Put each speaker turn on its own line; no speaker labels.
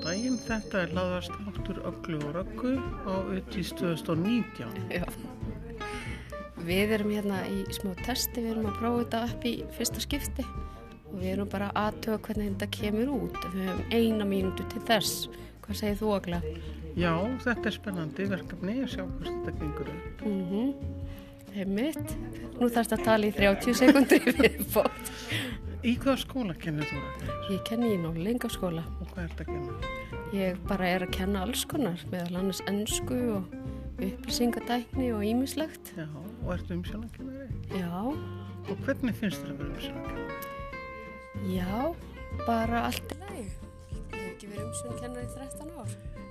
daginn, þetta er laðast áttur öllu og röggu á utýstöðust og nýtján.
Já. Við erum hérna í smá testi, við erum að prófa þetta upp í fyrsta skipti og við erum bara aðtöða hvernig þetta kemur út. Við höfum eina mínútu til þess. Hvað segir þú Agla?
Já, þetta er spennandi verkefni að sjá hvort þetta gengur upp.
Mm Heimitt. Nú þarfst að tala í 30 sekundri viðbót.
Í hvaða skóla kennir þú Ragnar?
Ég kenni í nálingaskóla.
Og hvað er þetta að kenna?
Ég bara er að kenna alls konar, meðal annars ennsku og upplýsingadækni og ýmislegt.
Já, og ertu umsjónakennari?
Já,
Og hvernig finnst þér að vera umsjónakennari?
já, bara allt í lagi. Ég hef ekki verið umsjónkennari í 13 ár.